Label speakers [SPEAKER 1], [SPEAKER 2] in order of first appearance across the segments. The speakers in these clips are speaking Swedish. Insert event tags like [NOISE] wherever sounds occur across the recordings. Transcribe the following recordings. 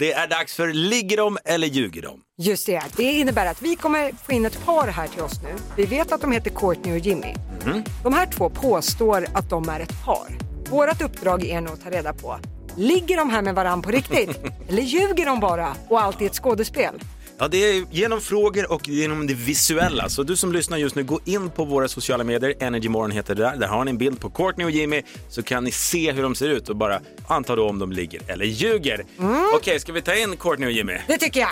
[SPEAKER 1] Det är dags för Ligger de eller ljuger de?
[SPEAKER 2] Just det, det innebär att vi kommer få in ett par här till oss nu. Vi vet att de heter Courtney och Jimmy.
[SPEAKER 1] Mhm.
[SPEAKER 2] De här två påstår att de är ett par. Vårt uppdrag är nu att ta reda på, ligger de här med varandra på
[SPEAKER 1] [LAUGHS]
[SPEAKER 2] riktigt? eller ljuger de bara och allt är ett skådespel?
[SPEAKER 1] Ja, det är genom frågor och genom det visuella. Så du som lyssnar just nu, gå in på våra sociala medier. Energy Morgon heter det där. Där har ni en bild på Courtney och Jimmy så kan ni se hur de ser ut och bara anta då om de ligger eller ljuger.
[SPEAKER 2] Mm.
[SPEAKER 1] Okej, ska vi ta in Courtney och Jimmy?
[SPEAKER 2] Det tycker jag.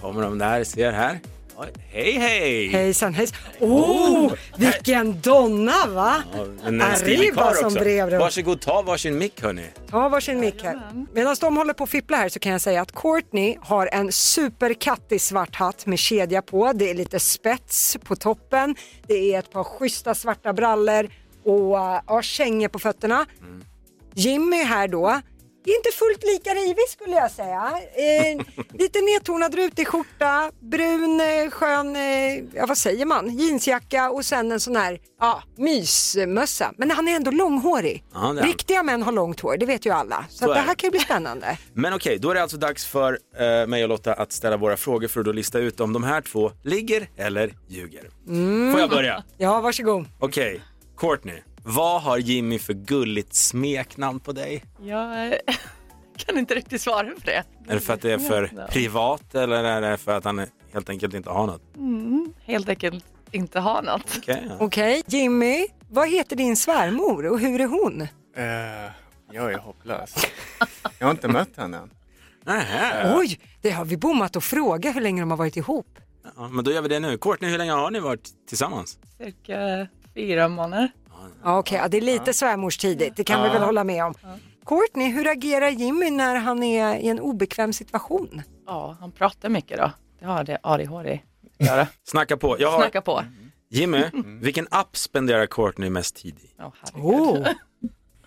[SPEAKER 1] Kommer de där, ser här. Oj, Hej, hej!
[SPEAKER 2] Hejsan hejsan. Åh, oh, vilken donna va?
[SPEAKER 1] Ja, men en stilig
[SPEAKER 2] Arriba
[SPEAKER 1] karl
[SPEAKER 2] som
[SPEAKER 1] också.
[SPEAKER 2] brevrum.
[SPEAKER 1] Varsågod, ta varsin mick hörni.
[SPEAKER 2] Ta varsin mick här. Medan de håller på och fipplar här så kan jag säga att Courtney har en superkattig svart hatt med kedja på. Det är lite spets på toppen. Det är ett par schyssta svarta brallor och äh, ja, kängor på fötterna. Jimmy här då. är inte fullt lika rivig skulle jag säga.
[SPEAKER 1] [LAUGHS]
[SPEAKER 2] Eh, lite nedtonad rutig skjorta, brun eh, skön, eh, ja vad säger man, jeansjacka och sen en sån här ja, mysmössa. Men han är ändå långhårig.
[SPEAKER 1] Ja, det är han.
[SPEAKER 2] Riktiga män har långt hår, det vet ju alla. Så,
[SPEAKER 1] Så
[SPEAKER 2] att det
[SPEAKER 1] är
[SPEAKER 2] här
[SPEAKER 1] det.
[SPEAKER 2] kan ju bli spännande.
[SPEAKER 1] Men okej, då är det alltså dags för eh, mig och Lotta att ställa våra frågor för att då lista ut om de här två ligger eller ljuger.
[SPEAKER 3] Mm.
[SPEAKER 1] Får jag börja?
[SPEAKER 2] [LAUGHS] Ja, varsågod.
[SPEAKER 1] Okej, Courtney. Vad har Jimmy för gulligt smeknamn på dig?
[SPEAKER 3] Jag [LAUGHS] eh, kan inte riktigt svara på det.
[SPEAKER 1] Är det för att det är för
[SPEAKER 3] Smeknamn?
[SPEAKER 1] privat eller är det för att han helt enkelt inte har något?
[SPEAKER 3] Helt enkelt inte ha något.
[SPEAKER 1] Okej, ja.
[SPEAKER 2] Okej, Jimmy, vad heter din svärmor och hur är hon?
[SPEAKER 4] Eh, jag
[SPEAKER 3] [LAUGHS]
[SPEAKER 4] är hopplös. Jag har inte mött henne än.
[SPEAKER 1] Nähä.
[SPEAKER 2] Oj, det har vi bommat att fråga hur länge de har varit ihop.
[SPEAKER 1] ja, men då gör vi det nu. Courtney, hur länge har ni varit tillsammans?
[SPEAKER 3] Cirka fyra månader.
[SPEAKER 2] Ja, Okej, ja, det är lite svärmorstidigt, det kan vi väl hålla med om. Courtney, hur agerar Jimmy när han är i en obekväm situation?
[SPEAKER 3] Ja, han pratar mycket då. Det har det ADHD att göra.
[SPEAKER 1] Snacka på. Jag har...
[SPEAKER 3] Snacka på. Mm.
[SPEAKER 1] Jimmy, vilken app spenderar Courtney mest tid i?
[SPEAKER 3] Åh, herregud.
[SPEAKER 2] Oh,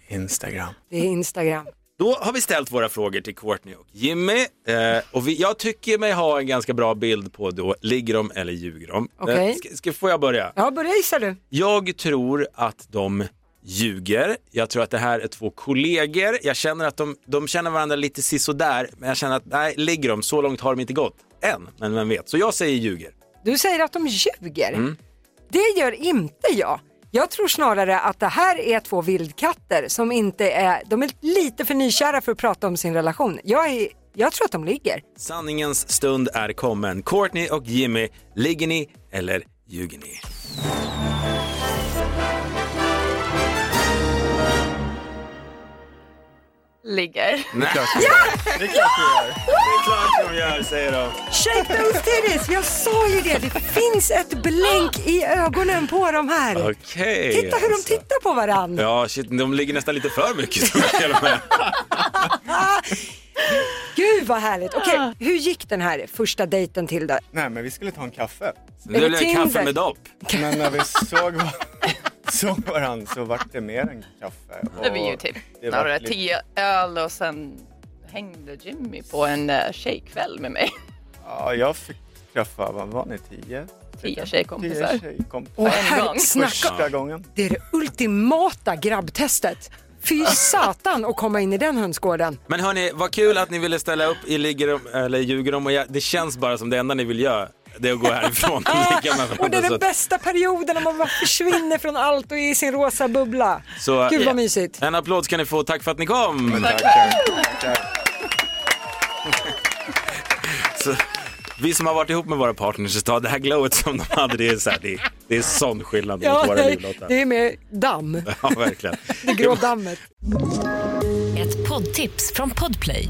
[SPEAKER 4] Instagram.
[SPEAKER 2] det är Instagram.
[SPEAKER 1] Då har vi ställt våra frågor till Courtney och Jimmy. Eh, och vi, jag tycker mig ha en ganska bra bild på då, ligger de eller ljuger de? Eh,
[SPEAKER 2] Okej.
[SPEAKER 1] ska, ska, får jag börja?
[SPEAKER 2] Ja, börja gissa du.
[SPEAKER 1] Jag tror att de ljuger. Jag tror att det här är två kollegor. Jag känner att de, de känner varandra lite sisådär, men jag känner att nej, ligger de? Så långt har de inte gått. Än, men vem vet. Så jag säger ljuger.
[SPEAKER 2] Du säger att de ljuger.
[SPEAKER 1] Mm.
[SPEAKER 2] Det gör inte jag. Jag tror snarare att det här är två vildkatter som inte är, de är lite för nykära för att prata om sin relation. Jag, är, jag tror att de ligger.
[SPEAKER 1] Sanningens stund är kommen. Courtney och Jimmy, ligger ni eller ljuger ni?
[SPEAKER 3] Ligger.
[SPEAKER 1] Nej,
[SPEAKER 4] Det är klart vi gör.
[SPEAKER 1] klart de gör, säger de.
[SPEAKER 2] Shake those titties! Jag sa ju det, det finns ett blänk i ögonen på de här.
[SPEAKER 1] Okej.
[SPEAKER 2] Titta hur de
[SPEAKER 1] alltså.
[SPEAKER 2] tittar på varandra.
[SPEAKER 1] Ja, shit, de ligger nästan lite för mycket. tror jag till och med.
[SPEAKER 2] Gud vad härligt. Okej,
[SPEAKER 3] Ah.
[SPEAKER 2] hur gick den här första dejten till då?
[SPEAKER 4] Nej, men vi skulle ta en kaffe.
[SPEAKER 1] Nu blev [LAUGHS] det
[SPEAKER 2] Tinder?
[SPEAKER 1] kaffe med dopp.
[SPEAKER 4] Men när vi såg, va- [LAUGHS] såg varandra så vart det mer än kaffe. Och
[SPEAKER 3] Det blir ju typ
[SPEAKER 4] det var
[SPEAKER 3] några
[SPEAKER 4] lite-
[SPEAKER 3] tio öl och sen hängde Jimmy på en eh, tjejkväll med mig.
[SPEAKER 4] Ja, jag fick träffa, vad var ni, tio?
[SPEAKER 3] Tio tjejkompisar.
[SPEAKER 4] Tio tjejkompisar.
[SPEAKER 2] Åh,
[SPEAKER 3] En
[SPEAKER 2] herre-
[SPEAKER 3] gång.
[SPEAKER 2] snacka
[SPEAKER 4] Första gången.
[SPEAKER 2] Det är det ultimata grabbtestet.
[SPEAKER 3] [LAUGHS]
[SPEAKER 2] Fy satan att komma in i den hönsgården.
[SPEAKER 1] Men hörni, vad kul att ni ville ställa upp i Ligger de, eller Ljuger de och jag, det känns bara som det enda ni vill göra, det är att gå härifrån och ligga med
[SPEAKER 2] [LAUGHS] Och det är
[SPEAKER 1] varandra.
[SPEAKER 2] den bästa perioden när man bara försvinner från allt och är i sin rosa bubbla.
[SPEAKER 1] Så, eh,
[SPEAKER 2] Gud
[SPEAKER 1] ja.
[SPEAKER 2] vad mysigt.
[SPEAKER 1] En applåd ska ni få, tack för att ni kom!
[SPEAKER 4] Tackar. Tackar.
[SPEAKER 1] Så, vi som har varit ihop med våra partners ett tag, det här glowet som de hade, det är, så här, det, det är sån skillnad mot våra
[SPEAKER 2] nej,
[SPEAKER 1] liv Lotta.
[SPEAKER 2] det är med damm,
[SPEAKER 1] [LAUGHS] Ja, verkligen.
[SPEAKER 2] det grå dammet.
[SPEAKER 5] Ett poddtips från Podplay.